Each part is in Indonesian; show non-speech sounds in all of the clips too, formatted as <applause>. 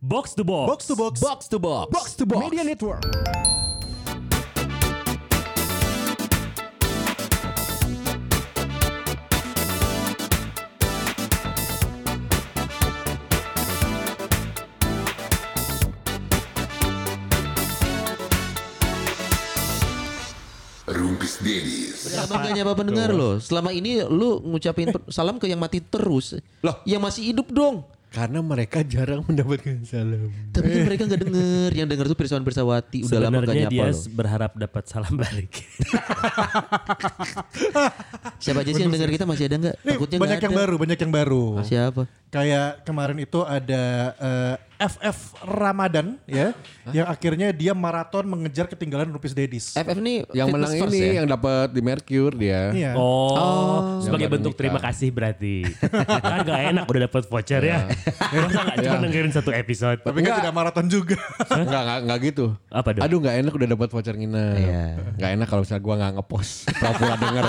Box to box. Box to box. Box to box. Box to box. Media Network. Rumpis Dedis. Selamat gak nyapa pendengar loh. Selama ini lu ngucapin per- salam ke yang mati terus. Loh. Yang masih hidup dong. Karena mereka jarang mendapatkan salam. Tapi kan mereka gak denger. Yang denger tuh Pirsawan Pirsawati. Udah lama gak Sebenarnya nyapa dia loh. berharap dapat salam balik. Siapa aja sih yang denger kita masih ada gak? Nih, Takutnya banyak gak yang ada. baru, banyak yang baru. Siapa? Kayak kemarin itu ada eh, FF Ramadan ya, yang akhirnya dia maraton mengejar ketinggalan Rupis Dedis. FF nih Yang fitness menang first ini ya? yang dapat di Mercure dia. Iya. Oh, sebagai Yang baru bentuk nikah. terima kasih berarti. <laughs> kan gak enak udah dapat voucher ya. Iya. <laughs> Masa gak cuma dengerin satu episode. Tapi kan tidak maraton juga. Enggak, enggak, enggak gitu. Apa dong? Aduh enggak enak udah dapat voucher nginep. Iya. Enggak enak kalau misalnya gua enggak ngepost. Pura-pura denger.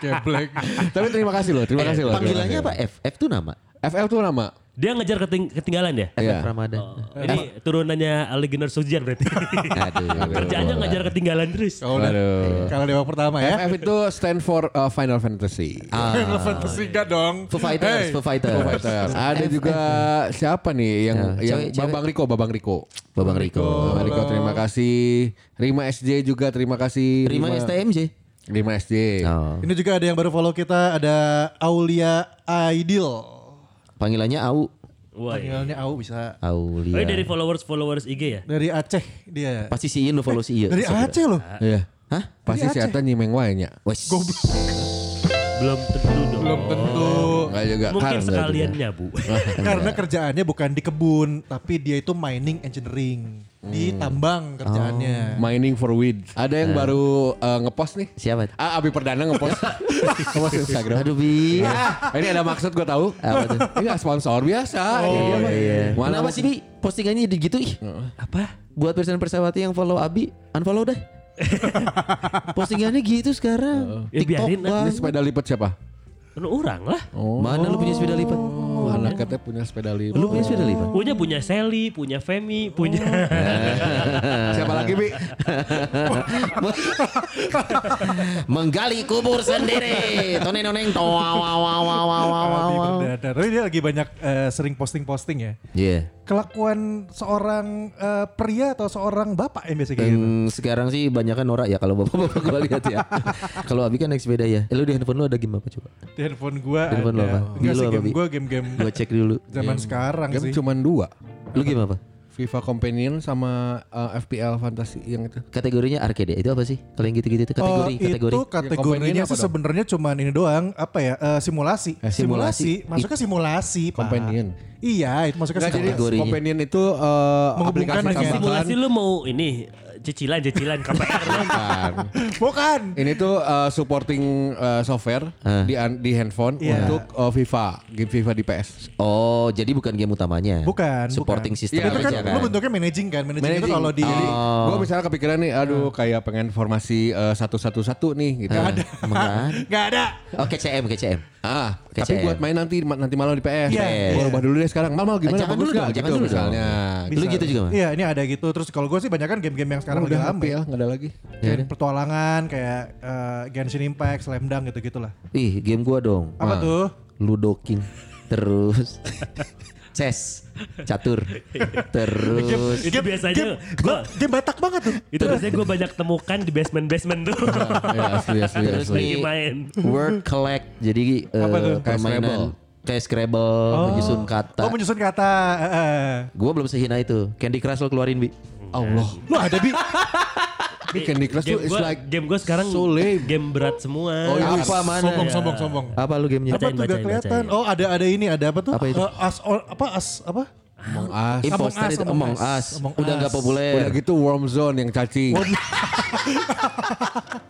Kayak black. Tapi terima kasih loh, terima kasih loh. terima Eh, Panggilannya kasih. apa? F? F tuh nama? FL tuh nama. Dia ngejar keting- ketinggalan ya? FF Iya. Ramadan. Ini turunannya Legioner Sujian berarti. <laughs> <laughs> Aduh. Kerjaannya ngejar ketinggalan terus. Oh, udah. Aduh. Kalau dewa pertama ya. FF itu stand for uh, Final Fantasy. Final <laughs> Fantasy enggak dong. Foo Fighters, Foo Fighters. Foo Fighters. Ada juga siapa nih yang Ya, yang cewek- cewek. Babang Riko, Babang Riko. Babang Riko. Babang Riko terima kasih. Rima SJ juga terima kasih. Terima STMJ. Rima SJ. Oh. Ini juga ada yang baru follow kita ada Aulia Aidil. Panggilannya Au. Wah. iya. Panggilannya Au bisa. Oh, Aulia. ini dari followers followers IG ya? Dari Aceh dia. Pasti si Ian lu follow si Ian. Dari Saudara. Aceh loh. Iya. Hah? Pasti Dari si Ata nyimeng wae nya. Wes. Belum tentu dong. Belum <laughs> tentu. Enggak juga Mungkin Karena sekalian juga. nyabu. Karena kerjaannya bukan di kebun, tapi dia itu mining engineering di tambang kerjaannya. Mining for weed. Ada yang baru eh, ngepost nih. <laughs> Siapa? Ah, Abi Perdana <laughs> ngepost. ngepost Instagram. Aduh Bi. Ah, ini ada maksud gue tahu. Apa tuh? Ini nggak sponsor biasa. Oh, Iya. Mana Kenapa sih Bi? Postingannya di gitu ih. Apa? Buat persen persawati yang follow Abi, unfollow dah. Postingannya gitu sekarang. <laughs> Ya, TikTok biarin, Ini banget. sepeda lipat siapa? Lu orang lah. Mana lu punya sepeda lipat? Oh, anak katanya punya sepeda lipat. Lu punya sepeda lipat? Punya punya Sally, punya Femi, punya Oh. <laughs> Ya, <laughs> Siapa lagi Bi? Menggali kubur sendiri. Toneng noneng toa wow wow wow wow wow Abi wow. Perdana. Tapi Oh, dia lagi banyak eh, sering posting-posting ya. Iya. Kelakuan seorang eh, pria atau seorang bapak yang biasa kayak gitu. Hmm, sekarang sih banyak kan norak ya kalau bapak-bapak gua lihat ya. kalau Abi kan naik sepeda ya. Eh, lu di handphone lu ada game apa coba? Di handphone gua Di handphone lo apa? ada. Enggak Di sih lo apa, game Bi? gua game-game Gua cek dulu. zaman sekarang Kan sih. Eh, cuman dua. Lu game apa? FIFA Companion sama eh, FPL Fantasy yang itu. Kategorinya arcade ya? Itu apa sih? Kalau yang gitu-gitu itu Oh, kategori, kategori. itu kategorinya Ya, kompendium sih apa dong? sebenarnya cuman ini doang apa ya eh, simulasi. simulasi. masuknya simulasi pak. Kompendium. Iya itu masuknya Enggak jadi simulasi. kategorinya. Companion itu eh, Menghubungkan aplikasi dengan- tambahan. simulasi lu mau ini eh, cicilan-cicilan <laughs> KPR lu. Bukan. Bukan. Ini tuh eh, supporting eh, software di an- di handphone Iya. untuk eh, FIFA, game FIFA di PS. Oh, jadi bukan game utamanya. Bukan, Supporting bukan. system Iya, itu kan aja lu bentuknya managing kan. Managing, itu Managing. Oh, kalau di Jadi, Oh. Gue misalnya kepikiran nih, aduh kayak pengen formasi eh, satu-satu-satu nih gitu. ada. Emang <laughs> nggak ada. Ah, nggak ada. Oh, KCM, KCM. Ah, Kayak tapi CM. buat main nanti ma- nanti malam di PS. Iya. Gua ubah dulu deh sekarang. Mal mal gimana? Eh, jangan Bagus dulu nggak? dong, jangan Gitu dulu dong. misalnya. Lu gitu juga, Mas? Iya ini ada gitu. Terus kalau gue sih banyak kan game-game yang sekarang lagi udah rame. happy ya, nggak ada <laughs> lagi. Kayak Pertualangan kayak eh, Genshin Impact, Slam Dunk gitu-gitu lah. Ih, game gua dong. Apa tuh? Ludo King. Terus <laughs> chess, catur. Iya. Terus Itu biasanya gua Game Batak banget tuh. itu biasanya gue banyak temukan di basement-basement tuh. Iya, asli asli Terus asli. Lagi main. word collect. Jadi eh, tuh? Kayak permainan kayak Scrabble, menyusun kata. Oh menyusun kata. eh, eh. Gua belum sehina itu. Candy Crush lo keluarin, Bi. Allah. Lu ada <laughs> bi? Ini Candy Crush tuh Game is gua, like game gua sekarang so lame. game berat semua. Oh, iya. Apa mana? Sombong sombong sombong. Apa lu gamenya? Apa Bacain, tuh gak bacain, kelihatan? bacain. Oh ada ada ini ada apa tuh? Apa itu? Eh, as or- apa as apa? Among Us. Imposter itu Among Among Us, Us. Among Udah Us. nggak populer. Udah gitu Warm Zone yang cacing. <laughs>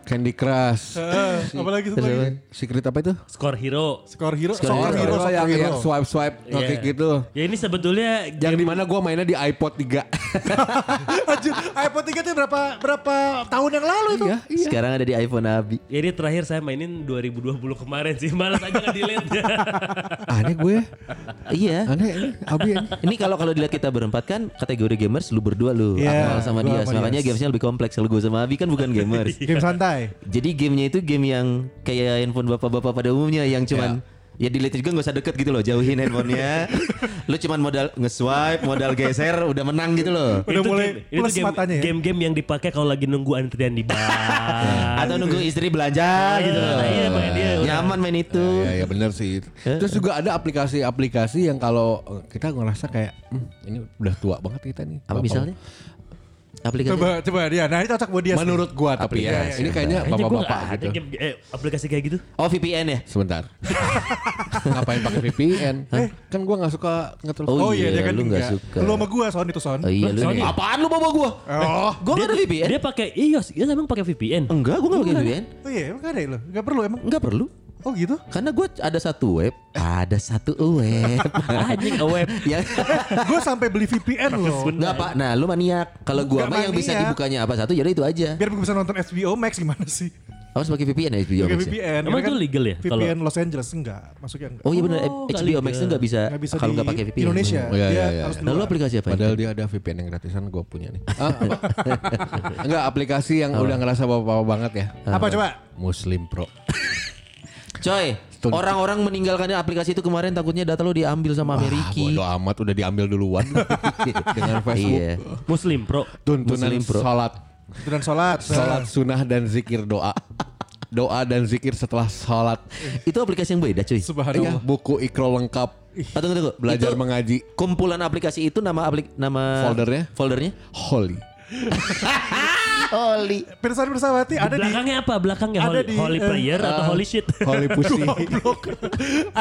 Candy Crush. Eh, apa lagi satu lagi? Secret apa itu? Score Hero. Skor hero, Skor soccer hero. hero, Oh, soccer yang, hero. yang swipe swipe ngeklik Iya. gitu. Ya ini sebetulnya Yang dimana gue mainnya di iPod 3. <laughs> Anjir, iPhone 3 itu berapa berapa tahun yang lalu itu? Iya, iya. Sekarang ada di iPhone Abi. ya ini terakhir saya mainin 2020 kemarin sih. Malas aja nge-delete. Aneh gue. Iya. Aneh. Abi aneh. Ini kalau kalau dilihat kita berempat kan kategori gamers lu berdua lu Iya, Akmal sama gua dia. sama Makanya Dias. gamesnya lebih kompleks. Kalau gue sama Abi kan bukan gamers. <laughs> Game santai. Jadi gamenya itu game yang kayak handphone bapak-bapak pada umumnya yang cuman ya dilihat juga nggak usah deket gitu loh jauhin handphonenya. lu cuman modal nge-swipe, modal geser udah menang gitu loh. Udah Itu mulai game- itu plus game- matanya ya? Game-game yang dipakai kalau lagi nunggu antrian <laughs> di Ya, bar. Atau nunggu istri belanja gitu loh. Ah, iya, main dia udah. Nyaman main itu. Ya, ya benar sih. Terus juga ada aplikasi-aplikasi yang kalau eh, kita ngerasa kayak "Hmm, ini udah tua banget kita nih. Bapak- Apa misalnya? Aplikasi Coba coba dia. Nah, ini cocok buat dia. Menurut gua tapi ya, Aplikasi. ini kayaknya Kayaknya gua bapak-bapak nggak ada gitu. game- eh, aplikasi kayak gitu. Oh VPN ya? Sebentar. Ngapain pakai VPN? Kan gua nggak suka ngetel. Oh, Oh, iya, dia iya, kan lu nggak enggak. suka. Lu sama gua Son itu Son. Oh iya lu. Soalnya- nih. Apaan lu bawa gua? Oh. Gua nggak ada VPN. Dia pakai iOS, dia emang pakai <laughs> VPN. Enggak, gua nggak pakai VPN. Oh iya, emang ada ya lo? Gak perlu emang? Enggak perlu. Oh gitu? Karena gue ada satu web, ada satu web. <laughs> Anjing web. ya, Gue Eh, sampai beli VPN loh. Bener. enggak pak. Nah, lu maniak. Kalau gua Enggak mah yang bisa maniak. dibukanya apa satu, jadi itu aja. Biar gue bisa nonton HBO Max gimana sih? Harus pakai VPN ya HBO Pakai Max. ya? VPN. Emang Karena kan itu legal ya kalau- VPN Los Angeles enggak, masuknya enggak. Oh iya benar, Oh, enggak HBO Max liga. itu enggak bisa, Nggak bisa kalau di enggak pakai VPN. Indonesia. Oh, iya, dia iya, iya. harus Nah, lu keluar. aplikasi apa? Padahal dia ada VPN yang gratisan gua punya nih. Ah, apa? Enggak aplikasi yang udah ngerasa bapak-bapak banget ya. Ah. Apa coba? Muslim Pro. Coy, orang-orang meninggalkannya aplikasi itu kemarin takutnya data lu diambil sama Ah, Amerika. bodo amat udah diambil duluan dengan Facebook. Iya. Muslim Pro. Tuntunan Muslim Pro. salat, Dan sholat. salat sunnah dan zikir doa. <laughs> Doa dan zikir setelah salat. Itu aplikasi yang beda, cuy. Iya, Subhanallah. buku ikro lengkap. Ah, tunggu, tunggu. Belajar Itu mengaji kumpulan aplikasi itu nama aplik nama Foldernya? Foldernya? holy. Oli. Pirsawan Pirsawati ada di Belakangnya apa? Belakangnya ada holy, di, holy eh, prayer atau Ah, holy shit? <laughs> Holy pussy. <laughs>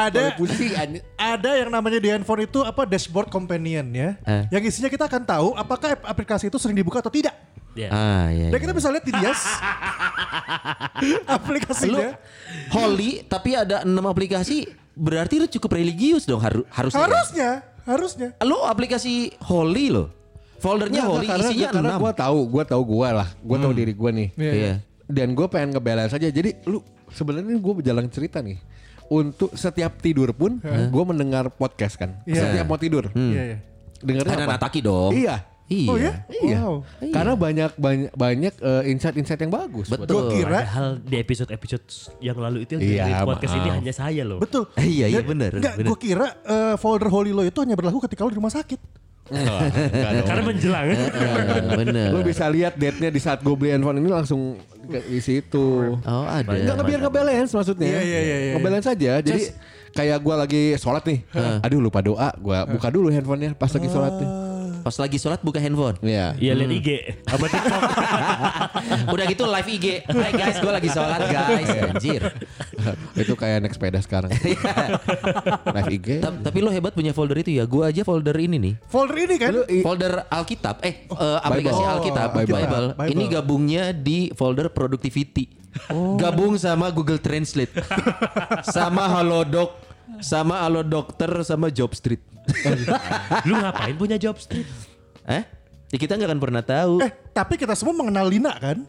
ada holy pussy anjing. ada yang namanya di handphone itu apa dashboard companion ya. Eh. Yang isinya kita akan tahu apakah aplikasi itu sering dibuka atau tidak. Ya. Ah, iya. Dan iya. kita bisa lihat di <laughs> Dias aplikasinya. Holy tapi ada enam aplikasi berarti lu cukup religius dong haru- harusnya. Harusnya, harusnya. kan? Lu aplikasi Holy lo. Foldernya Nggak, Holy nggak, karena, isinya karena enam. gue tahu, gue tahu gue lah, gue tahu diri gue nih. Iya. Iya. Dan gue pengen ngebalance aja. Jadi lu sebenarnya gue berjalan cerita nih. Untuk setiap tidur pun, Iya. gue mendengar podcast kan. Iya. Setiap mau tidur, Iya, iya. dengerin Hmm. Ada apa? Nataki dong. Iya. Iya. Oh ya? Iya. Wow. Karena banyak banyak banyak eh, insight-insight yang bagus. buat Betul. Gua kira Padahal di episode-episode yang lalu itu yang Iya, dengerin podcast ini ah. maaf. hanya saya loh. Betul. Iya, iya, Dan- bener, Enggak, bener. gue kira eh, folder Holy Lo itu hanya berlaku ketika lo di rumah sakit. Enggak, enggak dong. Karena menjelang. Eh, Ah, bener. Lu bisa lihat date-nya di saat gue beli handphone ini langsung ke di situ. Oh ada. Enggak biar ngebalance maksudnya. Iya, iya, iya, iya. Ngebalance aja. Jadi kayak gua lagi sholat nih. Aduh lupa doa, gua buka dulu handphonenya pas lagi sholat nih. Pas lagi sholat buka handphone. Iya. Iya lihat Hmm. IG. Apa <laughs> TikTok. Udah gitu live IG. Hai guys, gue lagi sholat guys. Anjir. <laughs> itu kayak naik sepeda sekarang. Live IG. Ta- Tapi lo hebat punya folder itu ya. Gue aja folder ini nih. Folder ini kan? Lu i- Folder Alkitab, eh eh, aplikasi Bible. Alkitab, Oh, Bible. Bible. Bible. Ini gabungnya di folder productivity. Gabung sama Google Translate. sama Halodoc, sama Alodokter, sama Job Street. <laughs> Lu ngapain punya job street? eh? Ya kita nggak akan pernah tahu. Eh, tapi kita semua mengenal Lina kan?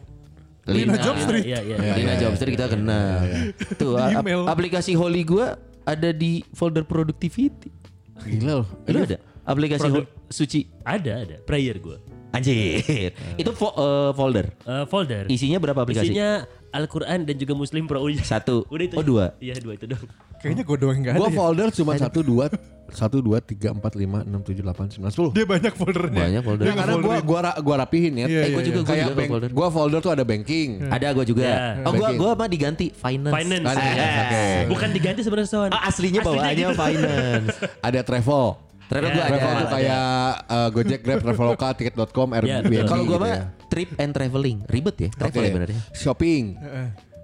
Lina Job Street. Iya, iya. Lina Job Street kita kenal. Tuh Di a- email. aplikasi Holy gua ada di folder productivity. Gila loh. Lu ada? Aplikasi Ho- suci. Ada, ada. Prayer gue. Anjir. Itu fo- eh, folder. Eh, folder. Isinya berapa aplikasi? Isinya Al-Quran dan juga Muslim Pro. Udah. Satu. <laughs> Udah itu. Oh, dua. Iya dua itu dong. Kayaknya gue doang enggak ada. Gua ya. folder cuma 1 2 1 2 3 4 5 6 7 8 9 10. Dia banyak foldernya. Banyak folder. Ya, karena gua gua ra- gua rapihin ya. Iya, Eh, gua iya, juga, gua kayak juga bank- folder. gua folder tuh ada banking. Ada gue juga. Ya. Oh gue Banking. gua mah diganti finance. Finance. Hmm. Finance, Eh, oke. Bukan diganti sebenarnya Son. Ah, aslinya bawaannya gitu. finance. ada travel. Travel Ya, gue ada. Travel tuh kayak eh, Gojek, Grab, Traveloka, Tiket.com, Airbnb. betul. Kalau gue gitu mah ya. trip and traveling ribet ya travel Oke. ya benernya. Shopping.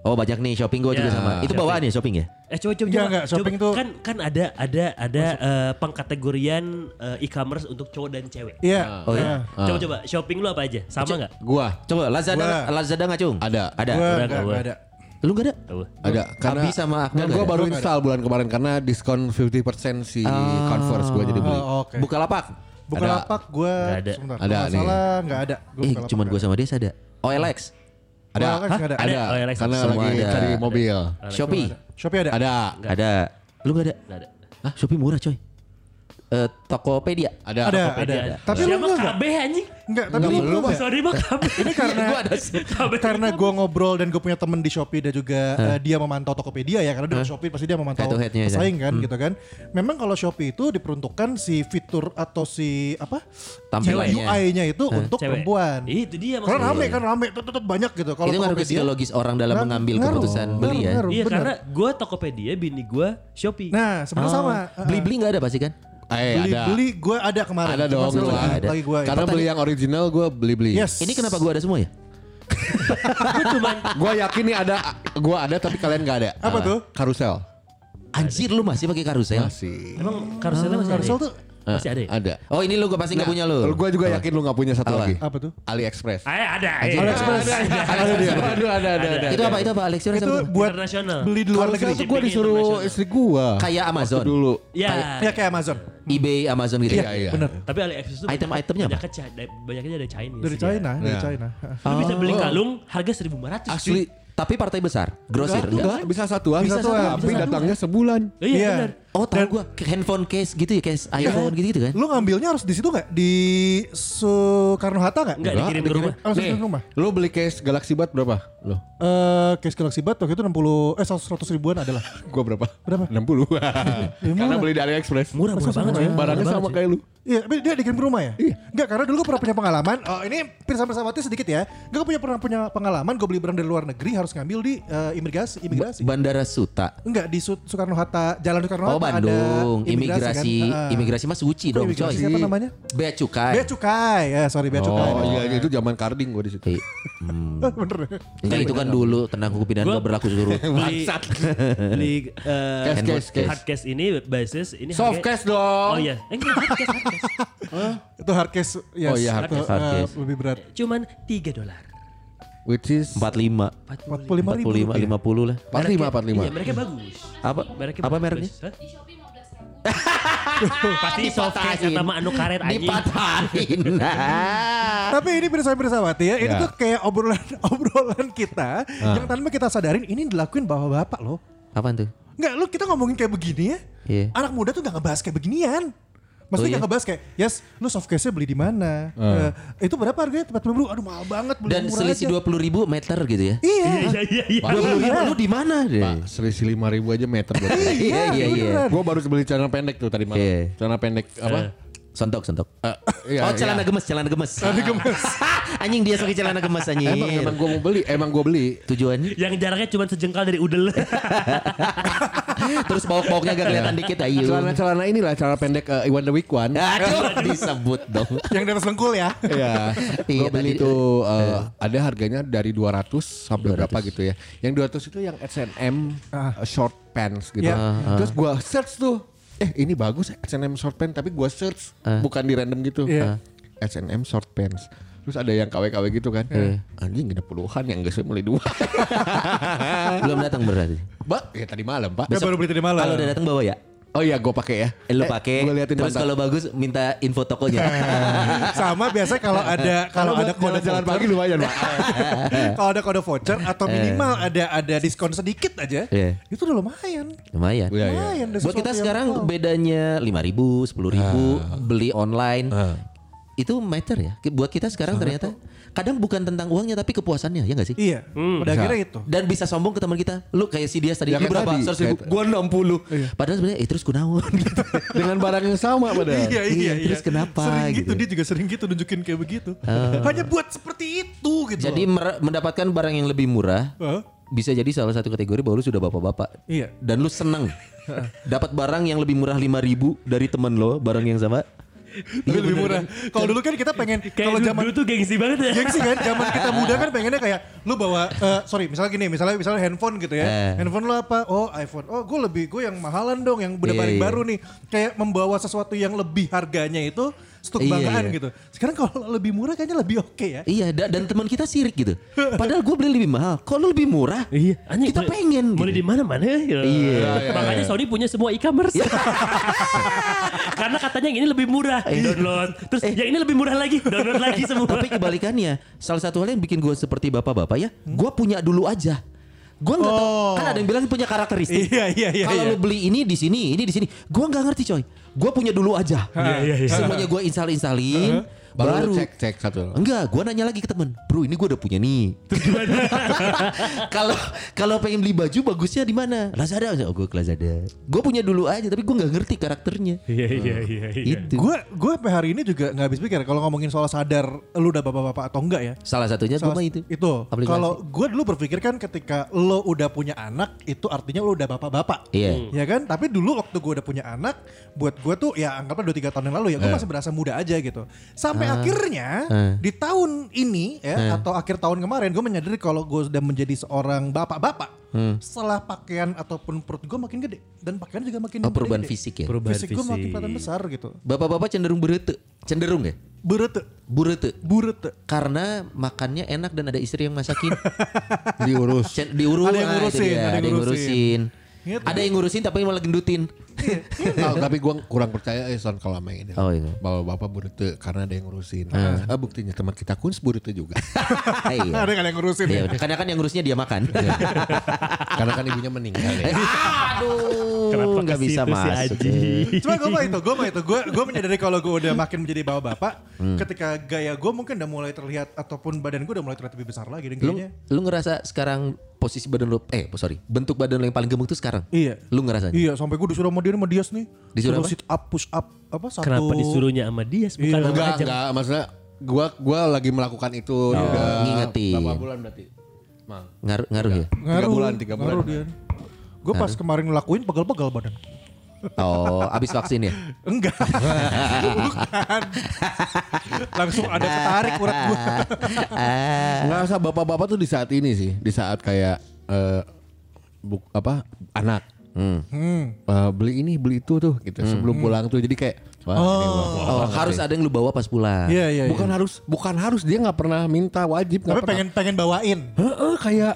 Oh banyak nih shopping gue juga Ya. sama. Itu bawaan ya shopping ya. Eh coba coba. Iya, coba. enggak, shopping Coba. tuh- kan kan ada ada ada eh, pengkategorian eh, e-commerce untuk cowok dan cewek. Nah, Iya. Oh ya. Coba coba shopping lu apa aja? Ah, Sama nggak? Gua Coba Lazada Gua- Lazada ngacung. Ada. Ada. Gue udah, enggak gua. enggak ada. Lu gak ada? Tahu. ada karena Abi sama Akmal dan nggak gua ada? baru install bulan kemarin karena diskon 50% si Converse gua jadi beli. Oh, oke. Buka lapak. Bukalapak gue Nggak ada. sebentar. Ada Kalau nggak nih. salah nggak ada. Gua Eh Bukalapak cuman gue nggak sama dia ada. Oh, OLX. Ada. Gua kan Hah? nggak ada. Ada. Ada. Oh, Alexa. Karena Semua lagi ada. cari mobil. Shopee. ada. Shopee ada. Ada. Ada. Lu gak ada? Nggak ada. Hah Shopee murah coy. eh, Tokopedia. Ada. Eh, Ada, ada. Tokopedia ada. Tapi lu Siapa enggak, enggak? KB anjing? Enggak, tapi lu Enggak, belum belum, ya? Sorry mah KB. Ini <laughs> karena Gua ada sih. KB. <laughs> karena gue ngobrol dan gue punya temen di Shopee dan juga eh, dia memantau Tokopedia ya karena di Shopee pasti dia memantau Head to headnya ya. pesaing kan gitu kan. Memang kalau Shopee itu diperuntukkan si fitur atau si apa Tampilannya. UI-nya itu untuk Cewek. perempuan. Itu dia maksudnya. Karena rame kan rame tut, tut, tut, banyak gitu. Kalau itu ngaruh ke Tokopedia, psikologis orang dalam ngaruh, mengambil ngaruh, keputusan beli ya. ngaruh, Iya benar. karena gue Tokopedia, bini gue Shopee. Nah sebenarnya Oh, sama. Beli-beli nggak ada pasti kan? Eh, beli ada. beli gue ada kemarin. Ada Cuma dong. sekarang gua. lagi- ada. Lagi gue. Karena beli yang original gue beli-beli. Yes. Ini kenapa gua ada semua ya? Gue yakin nih ada, gue ada tapi kalian gak ada. Ah, Apa tuh? Karusel. Anjir lu masih pakai karusel? Masih. Emang karuselnya masih Karusel ada? tuh ya? Masih ada Eh, ya? Ada. Oh ini lu gue pasti Nah, nggak punya lu. Gue juga yakin lu gak punya satu Apa? lagi. apa tuh? AliExpress. Eh, ada. eh. Anjir, AliExpress. Ada, ada. Ada dia. Aduh, ada, ada, ada. Itu apa? Itu apa? Alex Yoris Itu apa? buat Internasional. beli di luar negeri. gue Shipping disuruh internasional. istri gue. Kayak Amazon. Dulu. Ya. Ya kayak Amazon. eBay, Amazon gitu. Iya, iya. Bener. Tapi AliExpress tuh Item-itemnya apa? Iya, banyaknya, Ca- da- banyaknya dari China. Dari Iya. sih dia. China, dari Ya. China. Lu bisa beli kalung harga 1500 cuy. Asli. Tapi partai besar, grosir Enggak, enggak? bisa satuan. Bisa satuan, ah. Tapi bisa datangnya sebulan. Eh, Iya Iya. benar. Oh tahu gue handphone case gitu ya, case iPhone gitu gitu kan? Lu ngambilnya harus di situ nggak? Di Soekarno Hatta nggak? Enggak Enggak, dikirim ke rumah. Oh, Nih, di rumah. lu beli case Galaxy Bud berapa? Lo? Eh, case Galaxy Bat waktu itu 60 eh 100 ribuan adalah. Gua berapa? <laughs> Berapa? <laughs> Iya, 60. Karena murah. ya? beli dari AliExpress. Murah-murah banget cuy. Barangnya Murah sama banget, Oh. cuy. kayak lu. Iya, tapi dia dikirim ke rumah ya? Iya. Enggak, karena dulu gue pernah punya pengalaman. Oh, ini pirsa bersahabatnya sedikit ya. Gue punya pernah punya pengalaman gue beli barang dari luar negeri harus ngambil di eh, imigrasi, imigrasi. Bandara Suta. Enggak di Soekarno Hatta, Jalan Soekarno Hatta Oh Bandung, ada imigrasi, kan? Ah. imigrasi mah suci dong coy. imigrasi siapa namanya? Bea cukai. Bea cukai. Ya, sorry Bea cukai. <laughs> Oh iya, itu zaman carding gue di situ. Iya, Eh, Eh, Bener. Enggak itu kan dulu tenang hukum pidana Gua- gak berlaku seluruh. Beli beli eh, Case, handphone case, case. hard case ini basis ini Soft harganya- case dong. Oh iya, eh, enggak hard case, hard case. Itu hard case. Yes. Oh, iya, hard Itu, case, hard eh, case. lebih berat. Cuman 3 dolar. Which is 45, 45. 45 ribu. 45, 50 lah. 45 Iya, 45. mereka bagus. Apa Mereknya apa bagus. mereknya? Hah? <laughs> Pasti soft case atau mah anu karet anjing. Dipatahin. Nah. Tapi ini pirsa-pirsawati ya, ini Ya. tuh kayak obrolan <laughs> obrolan kita Ah. yang tanpa kita sadarin ini dilakuin bapak-bapak loh. Apaan tuh? Nggak, lu kita ngomongin kayak begini ya. Iya. Anak muda tuh nggak ngebahas kayak beginian. Maksudnya Oh, iya? Ah. nggak ngebahas kayak, yes, lu soft case-nya beli di mana? Eh, itu berapa harganya? Tempat beli aduh mahal banget. Beli Dan yang murah selisih aja." 20 ribu meter gitu ya. Iya Iya, iya iya iya. Pak, Lu, Iya. lu di mana deh? Pak, selisih 5000 aja meter <laughs> buat gua. Iya iya iya. beneran. Gua baru beli celana pendek tuh tadi malam. Iya. Celana pendek Eh. apa? Sontok sontok. Eh, iya, iya. oh celana gemes, celana gemes. Celana gemes. <laughs> anjing dia suka celana gemes anjing. Emang emang gua mau beli, emang gua beli. Tujuannya Yang jaraknya cuma sejengkal dari udel. terus bawok-bawoknya agak kelihatan dikit Iya. ayo. Celana-celana inilah celana pendek eh, Iwan the Weak One. Ah, Aduh disebut dong. yang di atas lengkul ya. <laughs> Iya, Iya, gue beli tadi- tuh eh, ada harganya dari 200 sampai berapa gitu ya. Yang 200 itu yang S&M eh, short pants gitu. Ah. Iya. Ah, Terus gue search tuh, eh ini bagus S&M short pants tapi gue search Ah. bukan di random gitu. Iya. S&M short pants. Terus ada yang KW-KW gitu kan. Iya. Anjing ada puluhan yang gak beli <laughs> dua. Belum datang berarti. Mbak, ya tadi malam, Pak. Dia Iya, baru beli tadi malam. Kalau udah datang bawa ya. Oh iya, gue pakai ya. Eh, lu pakai. Gue liatin Eh. terus kalau bagus minta info <laughs> tokonya. <laughs> Sama biasanya kalau ada kalau ada kode jalan voucher, pagi lumayan, <laughs> Pak. kalau ada kode voucher atau minimal ada ada diskon sedikit aja, Eh. Iya. itu udah lumayan. Lumayan. Ya, Iya, iya. Lumayan ada Buat sesuatu kita Nah, yang- sekarang bedanya 5 ribu, 10 ribu, Ah. beli online. Itu matter ya. Buat kita sekarang ternyata kadang bukan tentang uangnya tapi kepuasannya ya gak sih? Iya, Hmm. pada akhirnya itu. Dan bisa sombong ke teman kita. Lu kayak si dia Ya, tadi. Lu kayak berapa? tadi. 100 ribu. Kayak- Iya. Gua 60. Padahal sebenarnya eh terus kunaon gitu. <laughs> Dengan barang yang sama padahal. Iya, iya, iya. Terus kenapa Sering gitu. gitu. Oh. dia juga sering gitu nunjukin kayak begitu. Hanya buat seperti itu gitu. Jadi loh. mer- mendapatkan barang yang lebih murah Hah? bisa jadi salah satu kategori bahwa lu sudah bapak-bapak. Iya. Dan lu seneng dapat barang yang lebih murah 5000 dari temen lo, barang yang sama. iya, Tapi lebih murah. Kalau dulu kan kita pengen kalau Kayak zaman dulu tuh gengsi banget ya. gengsi kan zaman kita muda kan pengennya kayak lu bawa eh, sorry misalnya gini misalnya misalnya handphone gitu Eh. ya handphone lu apa oh iPhone oh gue lebih gue yang mahalan dong yang udah Iya, paling iya. baru nih kayak membawa sesuatu yang lebih harganya itu stok Iya, banggaan iya. gitu sekarang kalau lebih murah kayaknya lebih oke ya Iya, da- dan teman kita sirik gitu. Padahal gue beli lebih mahal, kok lu lebih murah? Iya, anjing, Kita boleh- pengen. gitu. Boleh di mana-mana. Iya. Makanya Sony punya semua e-commerce. <laughs> Karena katanya yang ini lebih murah, download. Terus yang ini lebih murah lagi, download lagi semua. <laughs> Tapi kebalikannya, salah satu hal yang bikin gue seperti bapak-bapak ya, gue punya dulu aja. Gue nggak tahu. Kan ada yang bilang punya karakteristik. Iya, iya, iya, Kalau iya. lu beli ini di sini, ini di sini, gue nggak ngerti coy. Gue punya dulu aja. iya, iya. Semuanya gue install-installin. Baru, Baru, cek cek satu. Enggak, gue nanya lagi ke temen, bro ini gue udah punya nih. Kalau kalau pengen beli baju bagusnya di mana? Lazada, oh, gue ke Lazada. Gue punya dulu aja, tapi gue nggak ngerti karakternya. Iya iya iya iya. Itu Gue gue sampai hari ini juga nggak habis pikir kalau ngomongin soal sadar lu udah bapak-bapak atau enggak ya. salah satunya gue Salah- mah itu. Aplikasi. Kalau gue dulu berpikir kan ketika lo udah punya anak itu artinya lo udah bapak-bapak. Iya. Ya kan? Tapi dulu waktu gue udah punya anak, buat gue tuh ya anggaplah 2-3 tahun yang lalu ya, Eh. gue masih berasa muda aja gitu. Sampai akhirnya Ah. di tahun ini Eh. ya atau akhir tahun kemarin gue menyadari kalau gue sudah menjadi seorang bapak-bapak. Hmm. Setelah pakaian ataupun perut gue makin gede dan pakaian juga makin Oh, perubahan gede-gede. fisik ya. Perubahan Fisik gue makin fisik. kelihatan besar gitu. Bapak-bapak cenderung berete, cenderung ya, Burete, burete. burete. Karena makannya enak dan ada istri yang masakin. Diurus. Cen- diurus, Ada yang ah, itu ngurusin, dia, ada yang ngurusin. Ingat Ada yang ngurusin tapi malah <laughs> gendutin. <laughs> Nah, tapi gue kurang percaya eh soal kalau sama ini. Oh, iya. Bahwa bapak burute karena ada yang ngurusin. Ah, buktinya teman kita kun burute <laughs> juga. Ah, iya. Ada nggak yang ngurusin Iya. Iya, ya? udah. Karena kan yang ngurusnya dia makan. karena kan ibunya meninggal. Iya. Ya. Aduh, Kenapa nggak ke situ bisa sih, masuk. eh. Aji? Cuma gue mah itu, gue mah itu, gue gue menyadari kalau gue udah makin menjadi bapak bapak, ketika gaya gue mungkin udah mulai terlihat ataupun badan gue udah mulai terlihat lebih besar lagi dan Lu, kayaknya. lu ngerasa sekarang posisi badan lu, eh sorry, bentuk badan lu yang paling gemuk tuh sekarang? Iya. Lu ngerasa? Iya, sampai gue disuruh sama dia sama Dias nih. Disuruh Suruh apa? sit up, push up, apa satu. Kenapa disuruhnya sama dia? Bukan sama Enggak, Ajeng. enggak. Maksudnya gua gua lagi melakukan itu juga. Oh, ngingetin. Berapa bulan berarti? Mang. Ngaruh, ngaruh Iya. ya? Tiga bulan, tiga bulan. Ngaruh dia. Gue pas kemarin ngelakuin pegel-pegel badan. Oh, abis vaksin ya? Enggak. Bukan. Langsung ada ketarik urat gue. Eh. Ngerasa bapak-bapak tuh di saat ini sih, di saat kayak eh, buk, apa anak Hmm. Eh, beli ini beli itu tuh gitu sebelum pulang tuh jadi kayak wah, ini gua- Oh, harus ada yang lu bawa pas pulang. Iya, iya, iya. bukan harus bukan harus dia nggak pernah minta wajib nggak Tapi pernah pengen pengen bawain. Heeh, kayak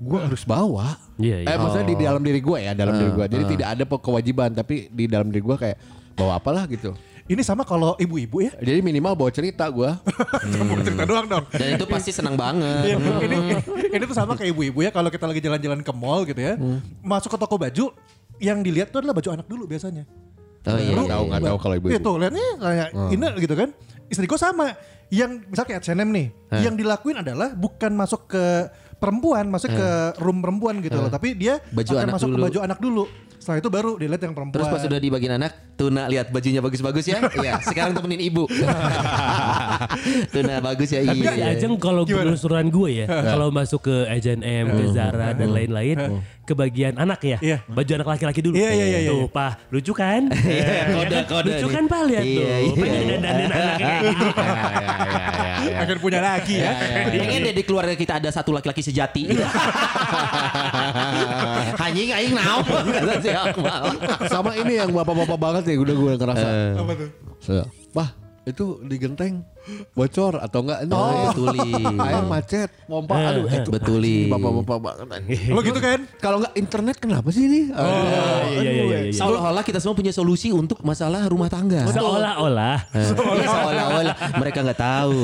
gue harus bawa. Iya, iya. Eh maksudnya di dalam diri gue ya, dalam diri gue. Jadi tidak ada pe- kewajiban, tapi di dalam diri gue kayak bawa apalah gitu. Ini sama kalau ibu-ibu ya. Jadi minimal bawa cerita gue. <laughs> Bukan cerita doang dong. Dan itu pasti senang banget. Iya, ini ini tuh sama kayak ibu-ibu ya kalau kita lagi jalan-jalan ke mall gitu ya. Hmm. Masuk ke toko baju yang dilihat tuh adalah baju anak dulu biasanya. Oh iya, Nggak iya, tahu iya. nggak tahu kalau ibu-ibu. Itu lihatnya kayak Hmm. ini gitu kan. Istri gue sama yang misalnya kayak H&M nih, Hmm. yang dilakuin adalah bukan masuk ke perempuan, masuk ke room perempuan gitu loh, tapi dia Hmm. Baju akan anak masuk ke dulu. baju anak dulu. Setelah itu baru dilihat yang perempuan. Terus pas sudah di bagian anak, Tuna lihat bajunya bagus-bagus ya. Iya, sekarang temenin <laughs> ibu. tuna bagus ya. Tapi si Iya. Ajeng kalau penelusuran gue ya, kalau masuk ke H&M, ke Zara dan lain-lain, ke bagian anak ya, Iya. baju anak laki-laki dulu. Iya, iya, iya, iya. Tuh, Pak, lucu kan? <laughs> Iya, kode, kode Lucu nih. kan, Pak, lihat Iya, tuh. iya, Pengen iya. dandanin anaknya kayak gitu. iya. akan punya lagi Iya, ya. Pengen deh di keluarga kita ada satu laki-laki sejati. <laughs> Anjing aing <laughs> naon kata si Akmal. <laughs> Sama ini yang bapak-bapak banget ya udah gue ngerasa. Apa tuh? gitu. So, Wah itu di genteng bocor atau enggak? No. Oh, betuli. <laughs> Air macet, pompa, aduh itu Betuli. anjing, bapak-bapak banget. anjing. Lo gitu kan? Kalau enggak internet kenapa sih ini? Oh, iya, iya, iya, iya. Seolah-olah kita semua punya solusi untuk masalah rumah tangga. Seolah-olah. Iya, Seolah-olah mereka nggak tahu.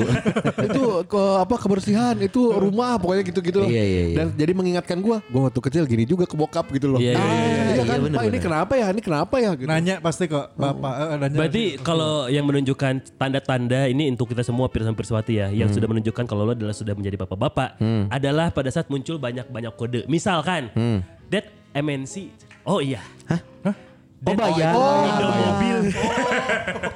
itu ke, apa kebersihan itu rumah pokoknya gitu-gitu loh. Iya, iya, iya. Dan jadi mengingatkan gua, gua waktu kecil gini juga ke bokap gitu loh. Iya, iya, Ah, iya, iya, kan, iya, bener, Pak ini bener. kenapa ya? Ini kenapa ya gitu. Nanya pasti Hmm. kok bapak. eh, nanya Berarti kalau yang menunjukkan tanda-tanda ini untuk kita semua pirsan pirsawati ya, Hmm. yang sudah menunjukkan kalau lo adalah sudah menjadi bapak-bapak adalah pada saat muncul banyak-banyak kode. Misalkan, Hmm. that MNC. Oh iya. Hah? Oh, bayar. Oh, bayar. mobil.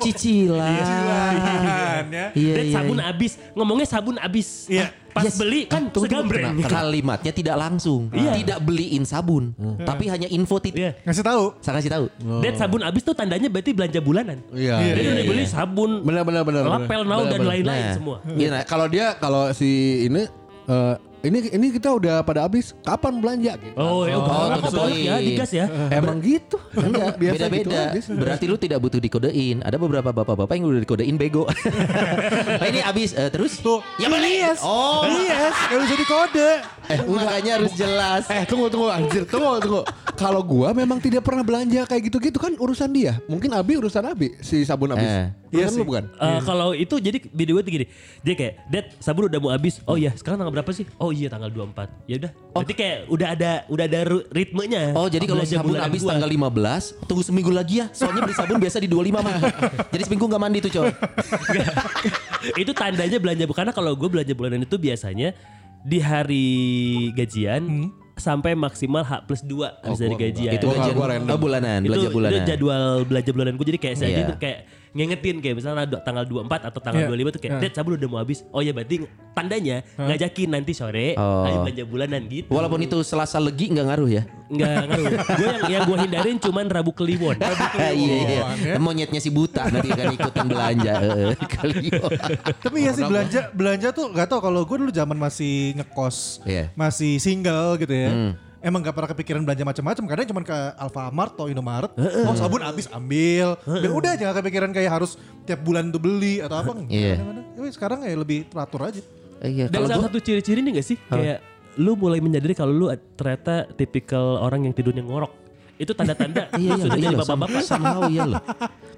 Cicilan. <laughs> Tahan, ya. Iya, Dan iya, sabun iya. abis, ngomongnya sabun abis. Iya. Ah, Pas Yes. beli kan Tunggu, tunggu, segambreng. tenang. Kalimatnya tidak langsung. Tidak beliin sabun, tapi hanya info titik. Hmm. Iya. Ngasih tahu. Saya kasih tahu. Dan sabun abis tuh tandanya berarti belanja bulanan. Iya. Iya. Jadi udah beli sabun, Benar benar benar. benar. lapel naon Benar, dan benar. lain-lain Nah. semua. Iya, nah, kalau dia kalau si ini eh, ini ini kita udah pada habis, kapan belanja gitu. Oh, iya, Oh, oh, tetep oh, ya, beli. digas ya. Emang gitu. Enggak, Biasa gitu beda-beda. habis. Berarti lu tidak butuh dikodein. Ada beberapa bapak-bapak yang udah dikodein <laughs> bego. Nah, ini abis eh, terus? Tuh. Ya beli. Oh, Iya. Yes, gak bisa dikode. eh, makanya harus jelas. Eh tunggu tunggu anjir tunggu tunggu Kalau gua memang tidak pernah belanja kayak gitu-gitu kan urusan dia Mungkin Abi urusan Abi si sabun Abi Eh. Iya lu bukan? Eh, Kalau itu jadi video gue tuh gini, dia kayak, Dad sabun udah mau habis. Oh iya, sekarang tanggal berapa sih? Oh oh iya tanggal 24. Ya udah. Berarti kayak udah ada udah ada ru- ritmenya. Oh jadi kalau Belanja sabun bulanan habis gua. tanggal 15 Tunggu seminggu lagi ya Soalnya beli sabun biasa di <laughs> 25 mah Jadi seminggu gak mandi tuh coy <laughs> itu tandanya belanja karena kalau gue belanja bulanan itu biasanya di hari gajian Hmm. sampai maksimal H plus 2 habis dari gajian. Oh, Itu Gua- gajian gua random. oh, ya. bulanan itu, Belanja bulanan itu jadwal belanja bulanan gue jadi kayak saya Iya. itu kayak ngingetin kayak misalnya do- tanggal 24 atau tanggal Iya. 25 tuh kayak Iya. Dad sabun udah mau habis oh ya berarti tandanya ngajakin nanti sore Oh. ayo belanja bulanan gitu Walaupun itu selasa legi gak ngaruh ya nggak ngaruh gue yang yang gue hindarin cuman Rabu Kliwon Iya iya ya. Monyetnya si buta nanti akan ikutan belanja eh, kali. Tapi ya sih belanja belanja tuh gak tau kalau gue dulu zaman masih ngekos, Iya. Hmm. masih single gitu ya. Emang gak pernah kepikiran belanja macam-macam kadang cuma ke Alfamart atau Indomaret. Oh sabun habis ambil. Dan udah aja gak kepikiran kayak harus tiap bulan tuh beli atau apa. Nggak, Iya. kadang-kadang. Ya, sekarang ya lebih teratur aja. Eh, Iya dan kalau salah gua- satu ciri-ciri ini gak sih kayak lu mulai menyadari kalau lu ternyata tipikal orang yang tidurnya ngorok itu tanda-tanda <laughs> lu Iya, iya, sudah iya, jadi loh, bapak-bapak sama- somehow iya loh.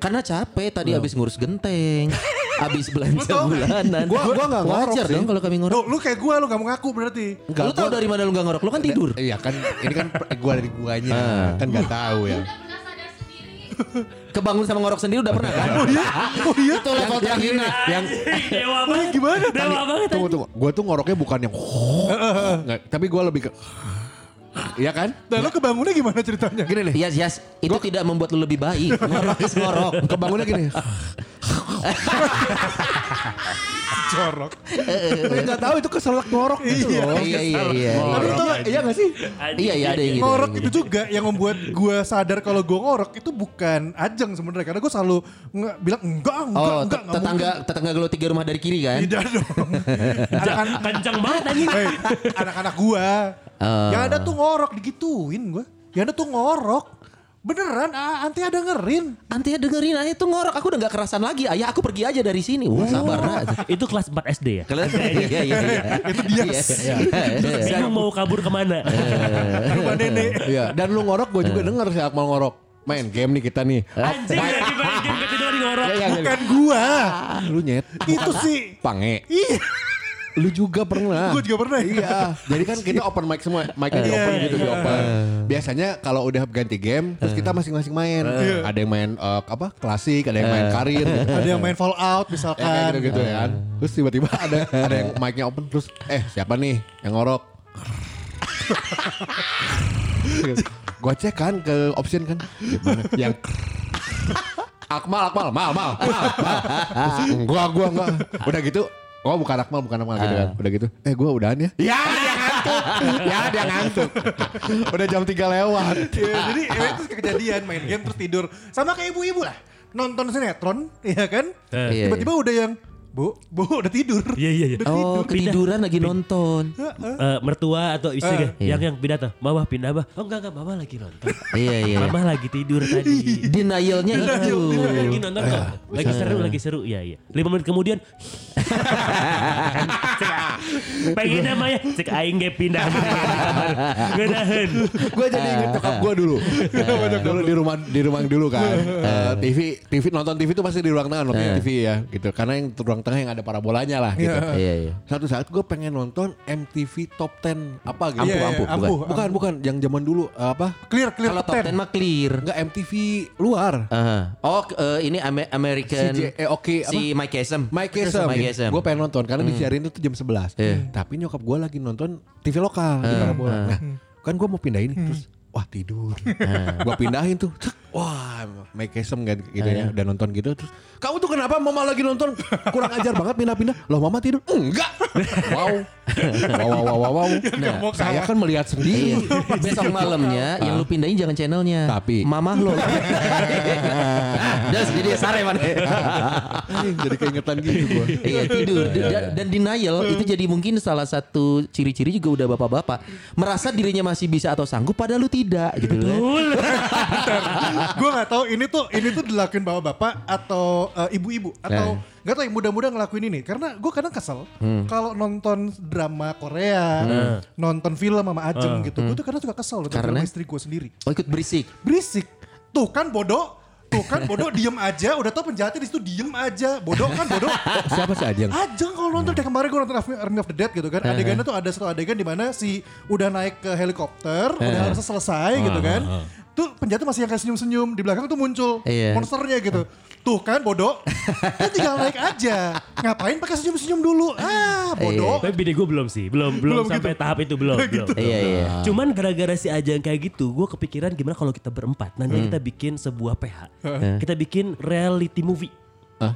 Karena capek tadi habis ngurus genteng, habis belanja bulanan. Gua- gua nggak ngorok Wajar sih. dong kalau kami ngorok. Duh, lu kayak gue lu gak mau ngaku berarti. lu tau dari mana lu gak ngorok? Lu kan tidur. Iya kan ini kan per- gua dari guanya kan nggak tahu ya. udah pernah sadar sendiri Kebangun sama ngorok sendiri udah pernah kan? Oh iya. Itu level terakhir. yang dewa banget gimana dewa banget tunggu tunggu, gua tuh ngoroknya bukan yang Nggak, tapi gua lebih ke Iya kan? Dan lu kebangunnya gimana ceritanya? Gini nih. Yes, yes. Itu tidak membuat lu lebih baik. Ngorok is ngorok. Kebangunnya gini. Jorok. Enggak tahu itu keselak ngorok gitu Iya. loh. Iya, iya, iya. Tapi iya. lu tau nggak, iya gak sih? Iya, iya ada yang gitu. ngorok ada yang itu juga yang membuat gue sadar kalau gue ngorok itu bukan ajeng sebenarnya karena gue selalu nge- bilang enggak enggak Oh, enggak te- enggak tetangga tetangga lu tiga rumah dari kiri kan? mungkin." tidak dong <laughs> anak-anak kencang banget <laughs> anjing hey, Kan anak-anak gue yang ada tuh ngorok digituin gue yang ada tuh ngorok beneran ah, anti ada ngerin Nanti dengerin ayah tuh ngorok, aku udah gak kerasan lagi. Ayah aku pergi aja dari sini. Wah, sabar aja. itu kelas 4 SD ya Kalian iya iya iya. <laughs> Itu dia. Iya, iya. bingung mau kabur kemana rumah nenek Iya, dan lu ngorok gua juga denger si Akmal ngorok. Main game nih kita nih. anjing Iya, lagi main game ketiduran ngorok Iya, iya, iya. bukan gue Ah, lu nyet. itu sih Pange. iya Lu juga pernah. gue juga pernah Iya, jadi kan kita open mic semua, mic-nya di Iya, open gitu di iya. open. Biasanya kalau udah ganti game, terus kita masing-masing main. Ada yang main eh, apa klasik, ada yang main karir, gitu. Iya. ada yang main Ya, kayak fallout misalkan gitu-gitu ya kan. Terus tiba-tiba ada ada yang mic-nya open, terus eh siapa nih yang ngorok? Gue cek kan ke option kan, Di mana? yang Akmal, Akmal, mal, mal, mal, mal. Terus, Gua, gua, gua. Udah gitu, Oh bukan Akmal, bukan Akmal gitu kan. Udah gitu, eh gua udahan ya. Ya dia ngantuk, ya dia ngantuk. Udah jam 3 lewat. Iya, jadi ya, itu kejadian main game terus tidur. Sama kayak ibu-ibu lah. Nonton sinetron, ya kan? Iya, Tiba-tiba udah yang Bu, bu udah tidur. Iya, iya, iya. Udah Oh, tidur. ketiduran lagi nonton. Heeh. Eh, mertua atau istri Eh. kan? yang yang pindah tuh mama pindah bah oh enggak enggak mama lagi nonton Iya iya. mama lagi tidur tadi Denialnya itu. lagi nonton kok lagi seru lagi seru ya iya lima menit <laughs> kemudian pengen namanya cek aing ge pindah gedahen gue jadi inget nyokap gue dulu Eh, dulu di rumah di rumah dulu kan Eh, TV TV nonton TV itu pasti di ruang tengah nontonnya TV ya gitu karena yang ruang tengah yang ada parabolanya lah gitu Iya iya. satu saat gue pengen nonton MTV Top 10 apa gitu Iya, iya, ampuh, ampuh, bukan bukan bukan yang zaman dulu eh, apa Clear, clear Kalau top top 10 mah clear. enggak MTV luar Aha. Oh, ke- eh, ini Ame- American Si J- eh, oke, apa? si Mike Kesem. Mike Kesem, Mike Kesem. gue pengen nonton karena disiarin itu jam 11 Tapi nyokap gue lagi nonton TV lokal di Parabola. Nah, kan gue mau pindahin Hmm. terus wah tidur. gue pindahin tuh, cek, wah Mike Kesem kan gitu ya, udah nonton gitu terus. Kamu tuh kenapa mama lagi nonton kurang ajar banget pindah-pindah? Loh mama tidur? Enggak. Wow. wow wow wow wow. wow. Nah, mau saya kalah. kan melihat <laughs> Iya. sendiri. Besok malamnya yang lu pindahin jangan channelnya. Tapi- mamah lo. Iya. Das jadi sare man. Anjing, <laughs> Jadi keingetan gitu gue. Iya tidur dan, dan denial itu jadi mungkin salah satu ciri-ciri juga udah bapak-bapak merasa dirinya masih bisa atau sanggup padahal lu tidak gitu loh. gue gak tahu ini tuh ini tuh dilakuin bapak-bapak atau eh, ibu-ibu atau nggak tahu yang muda-muda ngelakuin ini karena gue kadang kesel kalau nonton drama Korea, nonton film sama Ajeng gitu. Gue tuh kadang suka kesel dengan Karena? drama istri gue sendiri. Oh ikut berisik. Berisik. Tuh kan bodoh. Tuh kan bodoh diem aja, udah tau penjahatnya di situ diem aja. Bodoh kan bodoh. Siapa sih Ajeng? Ajeng Ah, kalau nonton kayak kemarin gue nonton Army of the Dead gitu kan. Adegannya tuh ada satu adegan di mana si udah naik ke helikopter, udah harusnya selesai gitu kan. Tuh penjahatnya masih yang kayak senyum-senyum di belakang tuh muncul Iya. monsternya gitu. Tuh kan bodoh. Dia tinggal naik aja. Ngapain pakai senyum-senyum dulu? Iya. Ah, bodoh. Tapi bini gue belum sih, belum belum, Belum sampai gitu. tahap itu belum. Belum belum. gitu. Iya, iya. Cuman gara-gara si Ajang kayak gitu, gue kepikiran gimana kalau kita berempat nanti Hmm. kita bikin sebuah PH, kita bikin reality movie.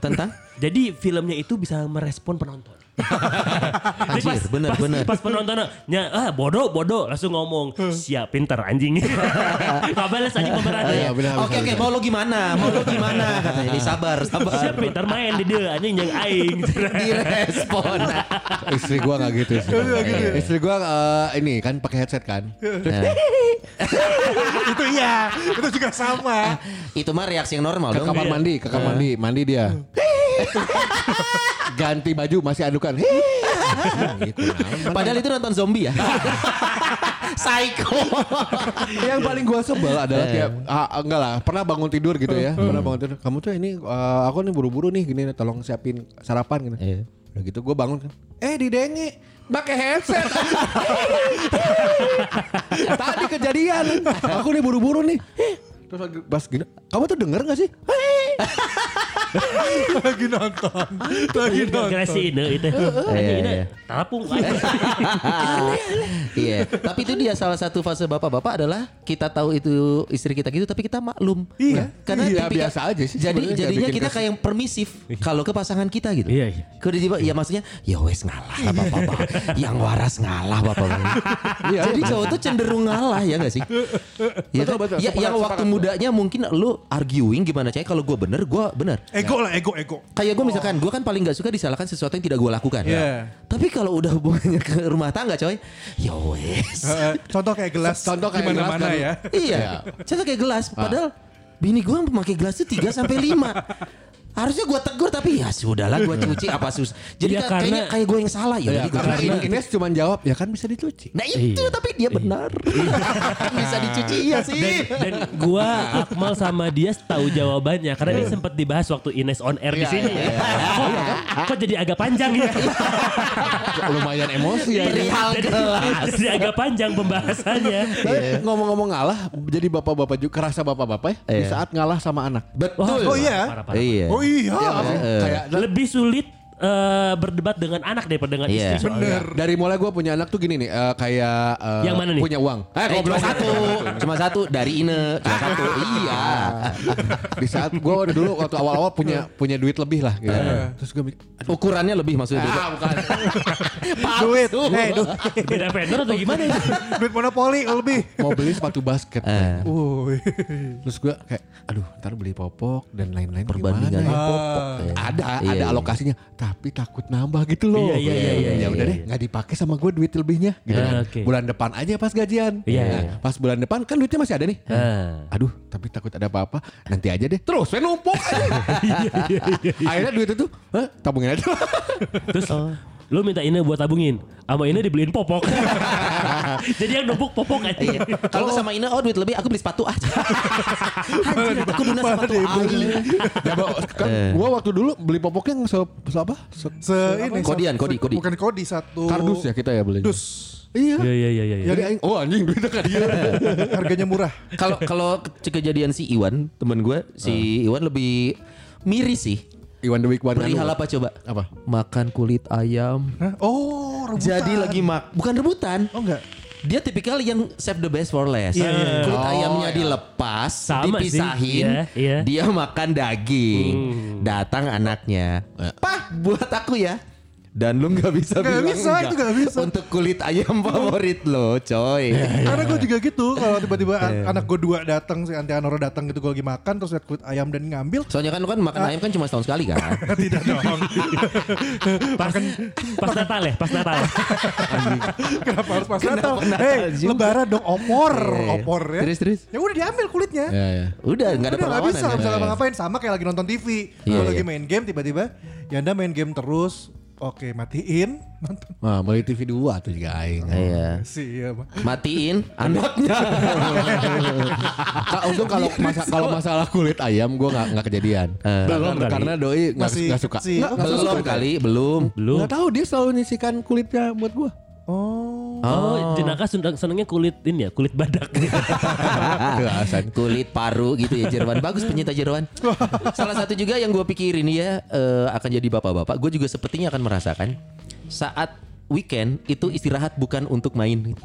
Tentang? Jadi filmnya itu bisa merespon penonton. Jadi <laughs> Anjir, bener, pas, bener. Pas penontonnya, ah bodoh, bodoh, langsung ngomong, Hmm. siap, pinter <laughs> anjing. Gak bales anjing pemerannya. Iya, benar, Oke benar, oke mau lo gimana? Mau lo gimana? Katanya ini sabar Siap, sabar. pinter main di dia, anjing yang <laughs> aing. Direspon. Istri <laughs> gua nggak gitu sih. Istri gua eh, ini kan pakai headset kan. itu iya, itu juga sama. Itu mah reaksi yang normal Ke dong. kamar mandi, Iya. ke kamar mandi, mandi dia. <laughs> Ganti baju masih adukan. <laughs> gitu. Padahal itu nonton zombie ya. Psycho. yang paling gua sebel adalah Eh. tiap ah, enggak lah pernah bangun tidur gitu ya Hmm. pernah bangun tidur kamu tuh ini eh, aku nih buru-buru nih gini tolong siapin sarapan gitu Iya. udah gitu gua bangun kan eh didenge pakai headset <laughs> tadi kejadian aku nih buru-buru nih terus lagi pas gini kamu tuh denger gak sih Lagi nonton. Lagi Gara-gara si Ine itu. gitu. Anjing Ine, iya. talapung. Iya. Tapi itu dia salah satu fase bapak-bapak adalah kita tahu itu istri kita gitu tapi kita maklum. Iya. Karena Iya, tipikal- biasa aja sih Jadi sebenarnya, jadinya bikin Iya. kita kes- kayak yang permisif kalau ke pasangan kita gitu. Iya, iya. Kalau dia ya maksudnya ya wes ngalah lah <laughs> bapak-bapak. yang waras ngalah bapak-bapak. Jadi cowok tuh cenderung ngalah ya gak sih? Iya Iya, kan? betul. Ya, yang Sepakat, waktu sepakat. mudanya mungkin lu arguing gimana caranya kalau gue bener gue bener. Ego lah, ego, ego. Kayak Oh. gue misalkan, gue kan paling gak suka disalahkan sesuatu yang tidak gue lakukan. Iya. Tapi kalau udah <laughs> hubungannya ke rumah tangga coy, ya <laughs> wes. Eh, contoh kayak gelas. Contoh kayak di mana-mana gelas ya. kan. iya. Contoh kayak gelas, padahal bini gue memakai gelas itu 3 sampai 5. Harusnya gue tegur tapi ya sudahlah gue cuci apa sus. Jadi Iya, ka- kayaknya karena- kayak gue yang salah ya. ya, jadi gua karena cuci. Ines cuma jawab ya kan bisa dicuci Nah itu tapi dia benar. <laughs> Bisa dicuci iya sih. Dan gua Akmal sama dia tahu jawabannya karena Iya. ini sempat dibahas waktu Ines on air di sini. Kok, kan? kok jadi agak panjang Iya, ya? lumayan emosi ya Perihal jadi, gelas. jadi agak panjang pembahasannya. Tapi ngomong-ngomong ngalah jadi bapak-bapak juga kerasa bapak-bapak ya di Iya. saat ngalah sama anak Betul. Oh iya. Parah, parah. Iya. Oh iya. Iya nggak sih? kayak Lebih sulit eh, berdebat dengan anak daripada dengan Iya. istri. soalnya. Bener. Oh, Dari mulai gue punya anak tuh gini nih, eh, kayak eh, Yang mana nih? punya uang. Eh, Eh, cuma goblok. satu, cuma satu dari Ine, cuma satu. Iya. <laughs> Di saat gue dulu waktu awal-awal punya Iya. punya duit lebih lah. Gitu. Eh, Terus gue mikir, Ukurannya lebih maksudnya. Ah. beda. Duit. Eh, duit. <laughs> Beda vendor atau gimana? <laughs> ya? duit monopoli lebih. mau beli sepatu basket. Eh. Wuih. Terus gue kayak, aduh ntar beli popok dan lain-lain gimana Perbandingannya ya? popok. Ah. ya. Ada, Iya, ada iya. alokasinya. Tapi takut nambah gitu loh. Iya, iya, iya, iya, Ya iya, udah iya. deh, nggak dipakai sama gue duit lebihnya. Gitu Ah, kan. oke. Bulan depan aja pas gajian. Iya, Nah, iya. Pas bulan depan kan duitnya masih ada nih. Ah. aduh tapi takut ada apa-apa nanti aja deh terus saya <laughs> numpuk aja. akhirnya duit itu "Hah, tabungin aja Terus Oh. lu minta Ine buat tabungin, sama Ine dibeliin <laughs> popok. <laughs> Jadi yang numpuk popok aja. Iya. Kalau sama Ina, oh duit lebih, aku beli sepatu aja. <laughs> Anjir, aku guna Malah sepatu ah. dibeli. aja. <laughs> ya Bang, kan Eh. gua waktu dulu beli popoknya yang se, se apa se, Se ini. Kodian, se- kodi, se- kodi. Bukan kodi, satu. kardus ya kita ya belinya <laughs> Dus. iya Iya iya iya iya. Ya, jadi aing oh anjing duitnya kan dia Harganya murah. Kalau kalau ke- kejadian si Iwan, teman gue, si Iwan lebih miris sih. <laughs> Iwan the Week One Perihal anu. apa coba? Apa? Makan kulit ayam. Hah? Oh, rebutan. Jadi lagi mak, bukan rebutan. Oh enggak. Dia tipikal yang save the best for last. Iya, iya, Kulit iya. Oh, ayamnya iya. dilepas, Sama sih. dipisahin, Iya, iya. dia makan daging. Datang anaknya, pah buat aku ya. Dan lu nggak bisa Eh. Nggak bilang bisa, itu nggak bisa. Untuk kulit ayam favorit lo, coy. Karena gue juga gitu kalau tiba-tiba an- Eh. anak gue dua datang si Anti Anoro datang gitu gue lagi makan terus liat kulit ayam dan ngambil Soalnya kan lu kan Ah. makan ayam kan cuma setahun sekali kan. tidak <laughs> dong <laughs> Pas, pas Natal ya, pas <laughs> Natal. kenapa harus pas Kenapa Natal? Natal Hei, juga? lebaran dong opor, Iya. opor ya. Terus, terus? Ya udah diambil kulitnya. ya ya Udah nggak ada Udah, perlawanan. bisa ya. nggak bisa ngapa-ngapain sama kayak lagi nonton TV. Iya, Kalau iya. lagi main game tiba-tiba ya Anda main game terus Oke, matiin nonton <laughs> Nah, beli TV dua tuh juga aing. Iya. sih ya, Bang. Matiin anaknya. Kak, untung <laughs> kalau masa- kalau masalah kulit ayam gue nggak nggak kejadian. Eh. belum Belum karena doi nggak Masih nggak suka. kecil. Nggak, nggak suka. belum kali, <laughs> belum. Belum. Nggak tahu dia selalu nyisikan kulitnya buat gue. Oh. Oh, jenaka seneng- senengnya kulit ini ya, kulit badak. Iya, Alasan. kulit paru gitu ya Jerwan bagus penyita Jerwan salah satu juga yang gue pikirin ya eh, akan jadi bapak-bapak gue juga sepertinya akan merasakan saat weekend itu istirahat bukan untuk main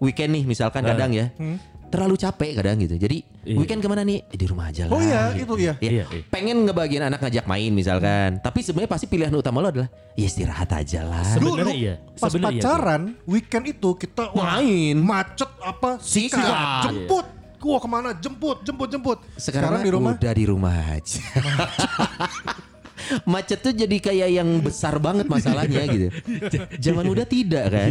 weekend nih misalkan Nah. kadang ya Hmm. terlalu capek kadang gitu jadi weekend kemana nih Eh, di rumah aja lah Iya. Oh iya, gitu. itu iya. Iya, iya. pengen ngebagian anak ngajak main misalkan tapi sebenarnya pasti pilihan utama lo adalah ya istirahat aja lah Sebenarnya Dulu iya, pas sebenarnya iya, pacaran weekend itu kita wah, Main. macet apa sikat, Sikat. jemput Wah kemana jemput jemput jemput Sekarang, di rumah udah di rumah aja. Macet tuh jadi kayak yang besar banget masalahnya gitu. Zaman muda tidak kan.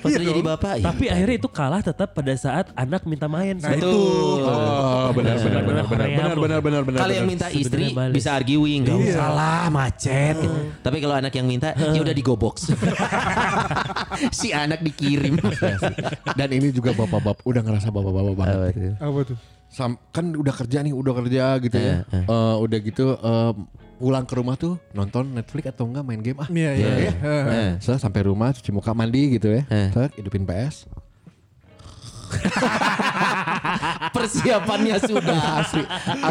Pas udah jadi bapak. ya. Tapi akhirnya itu kalah tetap pada saat anak minta main. Nah Sebenarnya. itu Oh, benar benar benar benar benar benar benar benar. Kalau yang minta istri Sebenarnya balik. bisa arguing, gak usah lah macet. Tapi kalau anak yang minta, ya udah digobok. si anak dikirim. Dan ini juga bapak-bapak udah ngerasa bapak-bapak banget. Apa tuh? Sam, kan udah kerja nih, udah kerja gitu ya. Eh, Eh, udah gitu eh, pulang ke rumah tuh nonton Netflix atau enggak main game ah. Iya iya iya. Eh, setelah sampai rumah cuci muka mandi gitu ya. Eh. Setelah hidupin PS. Persiapannya sudah. Asli.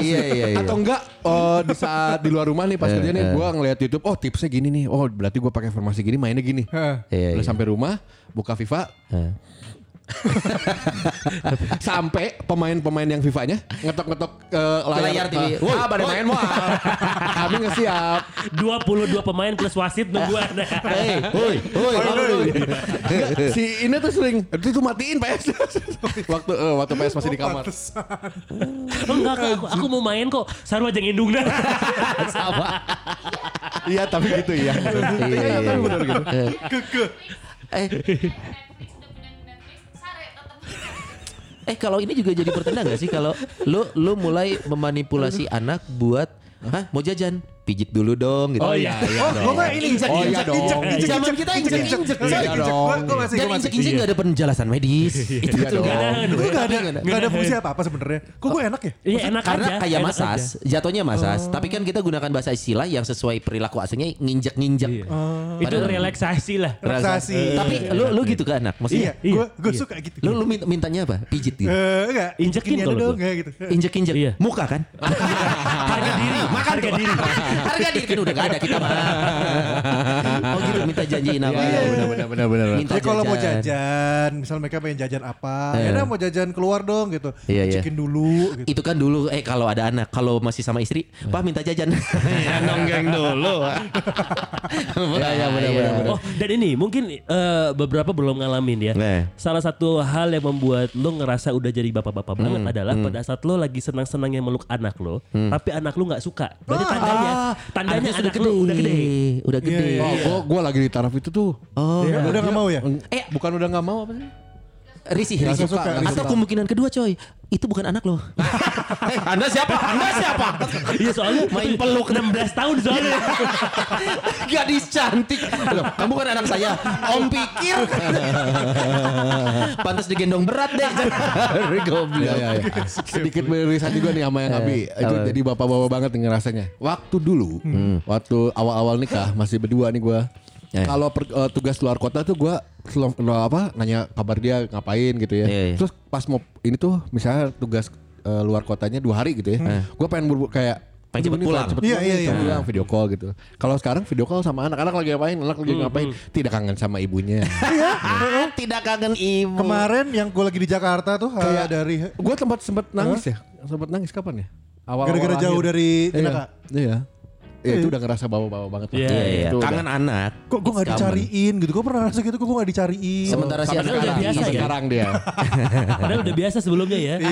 Iya iya iya. Atau enggak eh, di saat di luar rumah nih pas kerja nih gua ngeliat YouTube, oh tipsnya gini nih. Oh, berarti gua pakai formasi gini, mainnya gini. Heeh. Iya, Udah iya. sampai rumah, buka FIFA. Eh. <laughs> sampai pemain-pemain yang FIFA-nya ngetok-ngetok ke layar, layar TV. eh, Woi, Ah, pada woi. main, wah. Kami nggak siap. 22 pemain plus wasit nunggu <laughs> ada. Hey, Woi, woi, Nggak, si ini tuh sering itu tuh matiin PS. <laughs> waktu eh, waktu PS masih di kamar. Pantesan. Oh, enggak, aku, aku, aku mau main kok. Sarwa jeng indung dah. <laughs> Iya, tapi gitu ya. Iya, iya, iya. Eh. Eh, eh kalau ini juga jadi pertanda gak sih kalau lu lu mulai memanipulasi anak buat Hah mau jajan pijit dulu dong gitu. Oh, iya, iya Oh, gue mah ini injek, Oh, iya injek, dong. injek, injek, Zaman injek, kita injek, injek, injek, injek. injek, Iya injek. Gua- dong. gua masih, Dan gua masih. iya. injek-injek gak ada penjelasan <laughs> medis. Itu Iya betul dong. kan? Itu gak ada, gak ada fungsi apa-apa sebenarnya. Kok gue enak ya? Iya enak Karena aja. kayak enak masas, aja. Oh. jatuhnya masas. Tapi kan kita gunakan bahasa istilah yang sesuai perilaku aslinya nginjek-nginjek. Iya. Itu Padahal- relaksasi lah. Relaksasi. Tapi lu lu gitu ke anak, Iya, maksudnya? Iya, gue gue iya. suka gitu. Lu lu min- mintanya apa? Pijit gitu. Eh, enggak, Injekin gini aja kalau dong, gua. enggak gitu. injek injek Iya. muka kan <laughs> Harga diri. Makan harga diri. <laughs> harga diri kan udah gak ada kita <laughs> mah oh gitu minta janjiin apa Iya, benar benar benar benar. minta Jadi kalau mau jajan, misal mereka pengen jajan apa, ya udah mau jajan keluar dong gitu. Iya, iya. Injekin dulu gitu. itu kan dulu eh kalau ada anak kalau masih sama istri pak minta <laughs> jajan ya nonggeng dulu Iya, iya, benar benar benar. Oh dan ini mungkin eh, beberapa belum ngalamin ya. Nah. Salah satu hal yang membuat lo ngerasa udah jadi bapak-bapak banget adalah pada saat lo lagi senang-senangnya meluk anak lo, tapi anak lo nggak suka. Berarti tandanya, Ah, tandanya anak lo udah gede. Iya. udah gede Oh, gua gua lagi di taraf itu tuh. oh Ya, udah nggak mau ya? Eh, bukan udah nggak mau apa sih? risih Nggak risih suka, nggak atau suka. kemungkinan kedua coy itu bukan anak lo <laughs> Eh, anda siapa anda siapa <laughs> Iya soalnya Main peluk 16 tahun soalnya. Gadis cantik. Loh, kamu kan anak saya. Om pikir. Pantas digendong berat deh. <laughs> Iya, iya, iya. Sedikit beririsan juga nih sama yang Abi. Iya. Itu jadi bapak-bapak banget nih ngerasanya. Waktu dulu, waktu awal-awal nikah masih berdua nih gua. Hmm. Iya. Kalau per- eh, tugas luar kota tuh gua selalu- selalu apa nanya kabar dia ngapain gitu ya. Iya, iya. Terus pas mau ini tuh misalnya tugas eh, luar kotanya dua hari gitu ya. Gua pengen buru kayak "Aduh, Hmm. Iya. Pengen cepet ini pulang." cepet Iya, pulang iya, nih, iya. cepet pulang, video call gitu. Kalau sekarang video call sama anak-anak lagi ngapain, anak lagi Hmm, ngapain, tidak kangen sama ibunya. <laughs> Tidak kangen ibu. Kemarin yang gue lagi di Jakarta tuh eh, Kayak- dari Gue tempat sempet nangis ya, sempet nangis kapan ya? Awal gara-gara jauh gitu. dari Jenaka. Iya. Iya, itu udah ngerasa bawa-bawa banget. lah. Iya, Iya, iya. Itu Kangen anak. Kok gue gak Kangen. dicariin gitu? Gue pernah rasa gitu, kok gue gak dicariin? Sementara si Sampai anak udah sekarang, biasa sampai ya? sekarang dia. Padahal udah biasa sebelumnya ya. <laughs>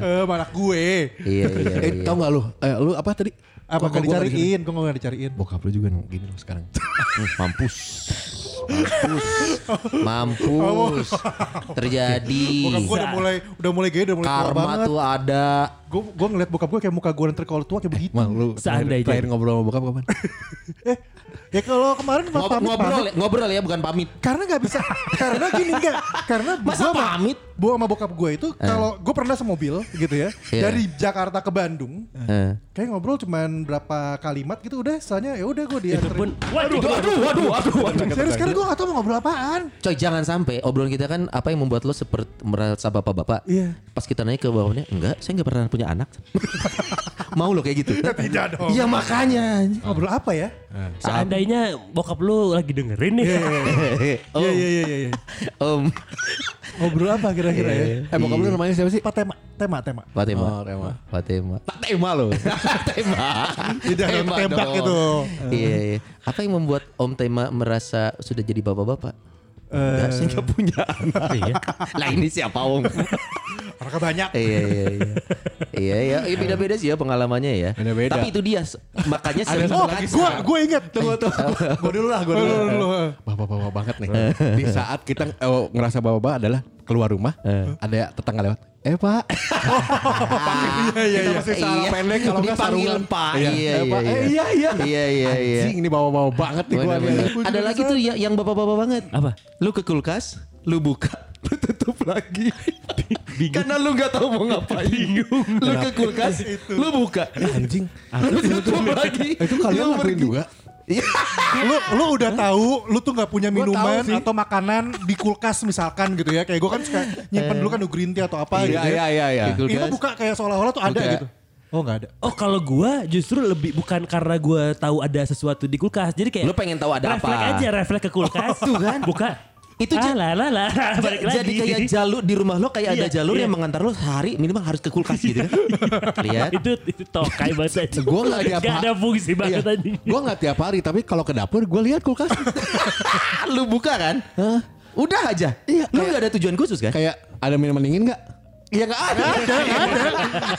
Eh, malah gue. <laughs> Iya, iya, eh, iya. tau gak lu? Eh, lu apa tadi? Apa Iya. Kok- gak kok gua dicariin? dicariin? Kok gak dicariin? Bokap lu juga gini loh sekarang. Hmm, <laughs> Mampus. <laughs> Mampus. Mampus. Terjadi. Bokap gue udah mulai udah mulai gede, udah mulai tua Karma banget. tuh ada. Gue gue ngeliat bokap gue kayak muka gue nanti kalau tua kayak begitu. Mang lu Seandainya. terakhir ngobrol sama bokap kapan? Eh, Ya kalau kemarin pas Ngob- pamit ngobrol pamit. ya, ngobrol ya bukan pamit. Karena nggak bisa, karena gini nggak, karena Masa gua- pamit? Eh. Gue sama bokap gue itu kalau gue pernah semobil gitu ya Iya. dari Jakarta ke Bandung, Eh. kayak ngobrol cuman berapa kalimat gitu udah, soalnya ya udah gue Itu dianterin. pun waduh Waduh, waduh, waduh, waduh. Serius karena gue gak tau mau ngobrol apaan. Coy jangan sampai obrolan kita kan apa yang membuat lo seperti merasa bapak-bapak. Iya. Pas kita nanya ke bapaknya, enggak, saya enggak pernah punya anak. <laughs> Mau lo kayak gitu? <laughs> Tidak dong. Iya makanya. Ngobrol apa ya? Seandainya bokap lu lagi dengerin nih. Om, Iya iya iya iya. iya. om. Ngobrol apa kira-kira Iya, ya? Eh bokap lu namanya siapa sih? Apa tema? Tema tema. Fatema. Oh, Tema. Fatema. Tak tema lo. tema. <laughs> Tidak dong, tembak dong. itu. Iya, iya. Apa yang membuat Om Tema merasa sudah jadi bapak-bapak? Eh. Enggak, saya enggak punya anak. <laughs> lah ini siapa Om? <laughs> Orangnya banyak. iya iya iya. Iya iya, iya, beda-beda sih ya pengalamannya ya. Beda-beda. Tapi itu dia s- makanya sering Oh, kan banget. gue gue inget. Tunggu tunggu. Gue dulu lah, gue dulu. Bapak-bapak banget nih. Eh. Di saat kita eh, ngerasa bapak-bapak adalah keluar rumah, Eh. ada tetangga lewat. Eh pak, Iya iya kita iya. masih salah Iya. pendek kalau nggak Dipanggil sarungan. Pak. Iya Iya, Eh, Pak. iya, Eh, iya. iya iya. Iya, iya, iya. Anjing ini bawa-bawa banget nih gue. Bener-bener. Ada lagi tuh ya- yang bapak-bapak banget. Apa? Lu ke kulkas, lu buka, <laughs> lu tutup lagi. Karena lu nggak tahu mau ngapain. Lu ke kulkas, lu buka, Anjing. lu tutup lagi. Itu kalian lu lakuin pergi. juga? Iya. Lu lu udah tahu lu tuh nggak punya Ya. Gua tahu minuman sih. atau makanan di kulkas misalkan gitu ya. Kayak gue kan suka nyimpen dulu kan green tea atau apa gitu. Eh. Iya iya ya. iya iya. Itu- Itu Kulkas. buka kayak seolah-olah tuh ada Buka. gitu. Oh nggak ada. Oh kalau gua justru lebih bukan karena gua tahu ada sesuatu di kulkas. Jadi kayak Lu pengen tahu ada refleks apa. aja refleks ke kulkas. Tuh kan. Buka. Itu ah, ja- lah, lah, <laughs> lah, balik lagi. Jadi kayak jalur di rumah lo kayak ada Iya, jalur iya. yang mengantar lo sehari minimal harus ke kulkas gitu kan. Lihat. itu itu tokai banget aja. Gue nggak tiap Nggak ada fungsi Iya. banget Iya. tadi. Gue nggak tiap hari, tapi kalau ke dapur gue lihat <laughs> kulkas. <laughs> lu buka kan? Hah? Udah aja. Iya, Lu kayak- nggak ada tujuan khusus kan? Kayak ada minuman dingin nggak? Iya nggak ada.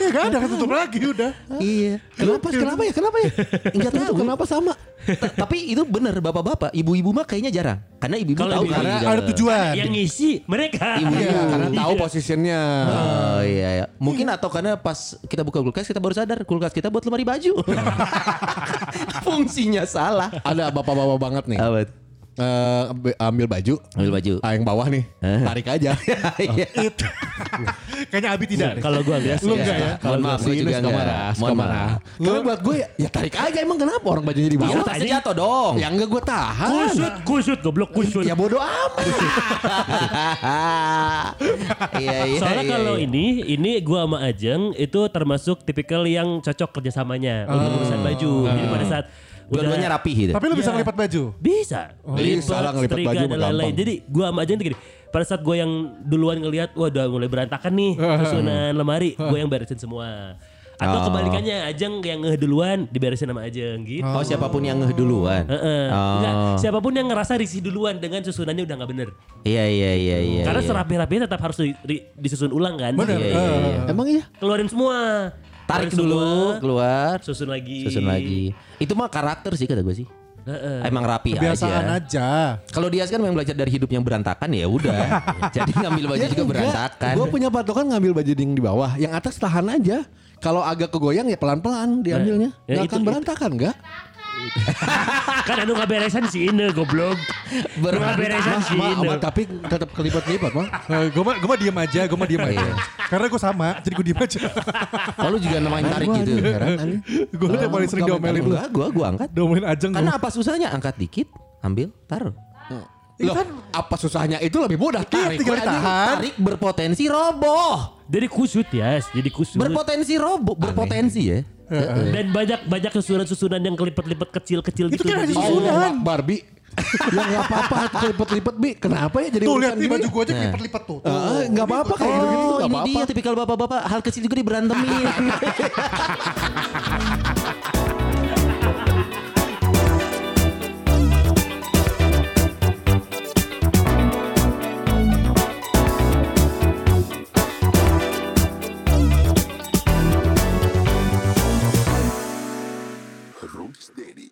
Ya nggak ada ketutup lagi udah. Iya. Kenapa? Kenapa ya? Kenapa ya? Enggak Itu tahu. kenapa sama? Ta- tapi itu bener bapak-bapak, ibu-ibu mah kayaknya jarang. Karena ibu-ibu Kalau tahu kan. ibu-ibu- kali Karena udah- ada tujuan. Yang ngisi mereka. Ibu- Iya, Iya. karena tahu posisinya. Oh iya, iya. Mungkin atau karena pas kita buka kulkas kita baru sadar kulkas kita buat lemari baju. <laughs> Fungsinya salah. Ada bapak-bapak banget nih. Apa? Eh, ambil- ambil baju. Iya. Ambil baju. Eh. Ah, yang bawah nih. Tarik aja. <laughs> Iya. Itu. <laughs> Kayaknya Abi Iya, tidak. deh. Kalau gua biasa. Lu enggak ya? Mohon maaf, gue Ini juga suka enggak. marah, suka Mohon marah. maaf. Karena buat gue ya, ya tarik aja emang kenapa orang bajunya di Iya, bawah? pasti jatuh dong. Ya enggak gue tahan. Kusut, kusut, goblok kusut. Ya bodoh amat. <laughs> Iya, iya. Soalnya iya, kalau iya. ini, ini gua sama Ajeng itu termasuk tipikal yang cocok kerjasamanya untuk Ah. urusan baju. Jadi pada saat dua-duanya rapi gitu. Tapi lu Iya. bisa ngelipat baju. Bisa. Oh, iya, Bisa lah, ngelipat setrika, baju mah dan lain-lain. gampang. Jadi gua sama aja tuh gini. Pada saat gua yang duluan ngelihat, wah udah mulai berantakan <laughs> nih susunan lemari, gua yang beresin semua. Atau Oh. kebalikannya, Ajeng yang ngeh duluan diberesin sama Ajeng gitu. Oh siapapun yang ngeh duluan. Heeh. Oh. Enggak, siapapun yang ngerasa risih duluan dengan susunannya udah nggak bener. Iya iya iya iya. Karena iya. serapi-rapinya tetap harus di- di- disusun ulang kan. Bener. Iya. Iya, iya, iya. Emang iya? Keluarin semua. Keluarin Tarik semua. dulu keluar, susun lagi. susun lagi. Itu mah karakter sih kata gue sih. Heeh. Emang rapi Kebiasaan aja. aja. Kalau dia kan memang belajar dari hidup yang berantakan ya udah. Jadi ngambil baju juga berantakan. Gue Iya, punya patokan ngambil baju ding di bawah. Yang atas tahan aja. Kalau agak kegoyang ya pelan-pelan diambilnya. Nah, ya Nggak itu- akan itu- berantakan enggak? kan anu ngaberesan si Ine <laughs> goblok. Berantakan. Ngaberesan si Nah, Ma, Ine. ma, tapi tetap kelipat-kelipat mah. Gue Eh, mah gue mah diem aja, gue mah diem aja. Iya. Karena gue sama, jadi gue diem <laughs> aja. Kalau Oh, juga namanya tarik gitu. Heran aneh. gue Oh, udah paling sering diomelin lu. Enggak, gua gua angkat. Diomelin ajeng. Karena apa susahnya angkat dikit, ambil, taruh. Loh, apa susahnya itu lebih mudah tarik. tinggal Wah, anjing. ditahan. Tarik berpotensi roboh. Jadi kusut ya, jadi kusut. Berpotensi roboh, berpotensi ya. Dan banyak banyak susunan-susunan yang kelipat-lipat kecil-kecil Itu gitu. kan Iya, hanya Oh, Allah Sudah. Akbar Bi. ya nggak apa-apa kelipet-lipet Bi. Kenapa ya jadi Tuh urusan lihat nih gini? baju gue aja kelipet-lipet tuh. Tuh. Ah, nggak apa-apa kayak gitu gitu Oh, nggak ini apa-apa. dia tipikal bapak-bapak hal kecil juga <laughs> diberantemin. Roots Daddy.